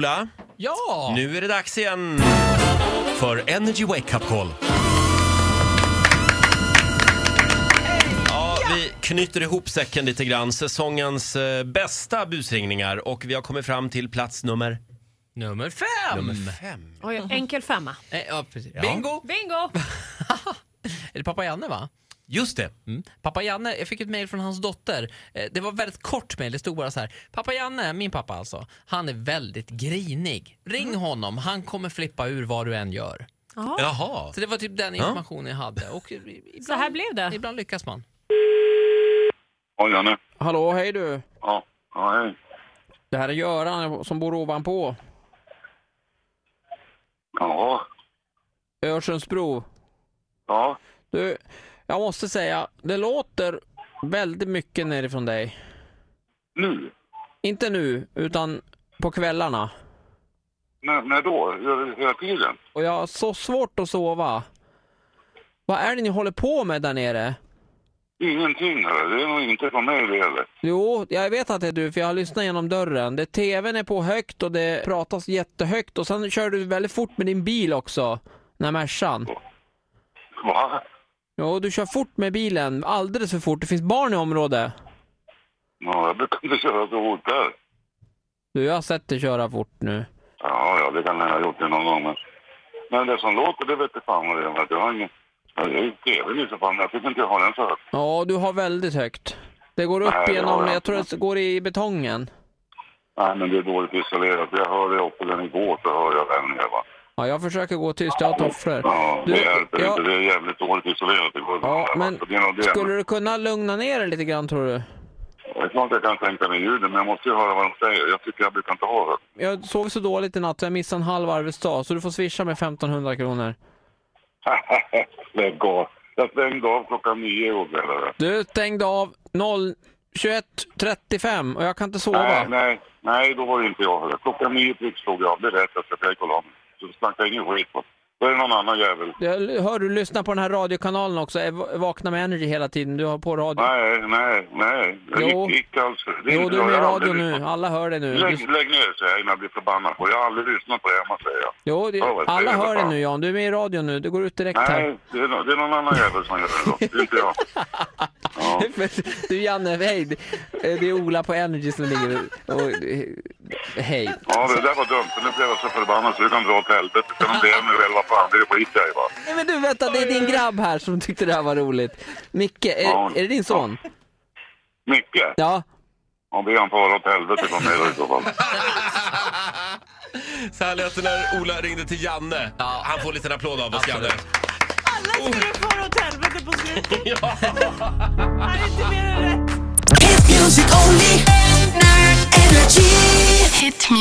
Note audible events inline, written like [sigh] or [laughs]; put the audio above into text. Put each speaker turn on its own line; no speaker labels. Ola,
Ja!
nu är det dags igen för Energy Wake Up Call. Ja, vi knyter ihop säcken lite grann. Säsongens eh, bästa busringningar och vi har kommit fram till plats nummer...
Nummer fem!
fem.
Oj, enkel femma.
Eh, ja, precis. Bingo!
Bingo!
Är det pappa Janne va?
Just det.
Mm. Pappa Janne, jag fick ett mejl från hans dotter. Eh, Det var ett väldigt kort mejl, det stod bara så här. Pappa Janne, min pappa alltså, han är väldigt grinig. Ring
Mm.
honom, han kommer flippa ur vad du än gör.
Jaha,
Jaha.
Så det var typ den informationen jag hade. Och i- ibland,
så här blev det.
ibland lyckas man.
Ja, Janne.
Hallå, hej du.
Ja, ja hej.
Det här är Göran som bor ovanpå.
Ja,
Örsundsbro.
ja.
Du, jag måste säga, det låter väldigt mycket nerifrån dig.
Nu?
Inte nu, utan på kvällarna.
När, när då? Hela- Hela tiden?
Och jag har så svårt att sova. Vad är det ni håller på med där nere?
Ingenting, hörru. det är nog inte från mig det heller.
Jo, jag vet att det är du, för jag har lyssnat genom dörren. Det, TVn är på högt och det pratas jättehögt och sen kör du väldigt fort med din bil också. Den här Mercan.
Va?
Jo, du kör fort med bilen. Alldeles för fort. Det finns barn i området.
Ja, jag brukar [laughs] inte köra så fort där.
Du, jag har sett dig köra fort nu.
Ja, ja, det kan jag ha gjort det någon gång, men... Men det som låter, det vet du fan vad det är. men Jag har ingen... Jag är ju tvn i så fall, men jag tycker inte jag har den för.
Ja, du har väldigt högt. Det går upp
Nej, det har
genom,
jag
jag tror
inte.
det går i betongen.
Nej, men det är dåligt isolerat. Jag hörde uppe den igår, så hör jag den här, va.
Ja, jag försöker gå tyst, jag har tofflor.
Ja, det
Du,
hjälper
ja.
inte. Det är jävligt dåligt isolerat. Det går
Ja,
där, va.
men
Så det är nog det.
skulle du kunna lugna ner dig lite grann tror du?
Det är klart jag kan sänka ner ljudet, men jag måste ju höra vad de säger. Jag tycker jag brukar inte ha det.
Jag sov så dåligt i natt, jag missade en halv arbetsdag, så du får swisha med 1500 kronor.
[laughs] Lägg av. Jag stängde av klockan nio igår kväll. hörru.
Du stängde av 0 21.35 och jag kan inte
Nej,
sova.
nej, nej, då var det inte jag. hörru. Klockan nio prick slog jag av. Det är rätt, jag ska till kolla om. Så snacka ingen skit. va. Då är det någon annan jävel.
Jag hör du lyssna på den här radiokanalen också, Jag vakna med energy hela tiden, du har på radio.
Nej, nej, nej. Det
Jo.
gick, gick alls. Det
Jo,
inte
du är
jag.
med i
Jag har
radio
aldrig
nu,
lyssnat.
alla hör dig nu. Du,
Lägg, lägg ner säger jag innan jag blir förbannad på. Jag har aldrig lyssnat på det hemma säger jag.
jo, det,
Ja, vad
alla
säger jag,
hör dig
fan.
nu Jan, du är med i radio nu, du går ut direkt här.
Nej, det är, no- det är någon annan jävel som gör det då. Det är inte jag. Ja.
För- [laughs] Du Janne, hej. Eh, Det är Ola på Energy som ringer. Och, hej.
Ja, det där var dumt. Nu blev jag så förbannad så du kan dra åt helvete. Sen om det är nu eller vad fan, det är skit jag i va.
Nej men du vänta, det är din grabb här som tyckte det här var roligt. Micke,
Ja.
är, är det din son?
Micke,
Ja.
om vi han fara åt helvete från mig då i så fall.
Så här lät det när Ola ringde till Janne. Han får en liten applåd av oss, Janne.
Absolut.
Alla skulle få åt helvete på slutet.
Ja.
Det är inte mer än rätt.
Hit music only. Energy.
Hit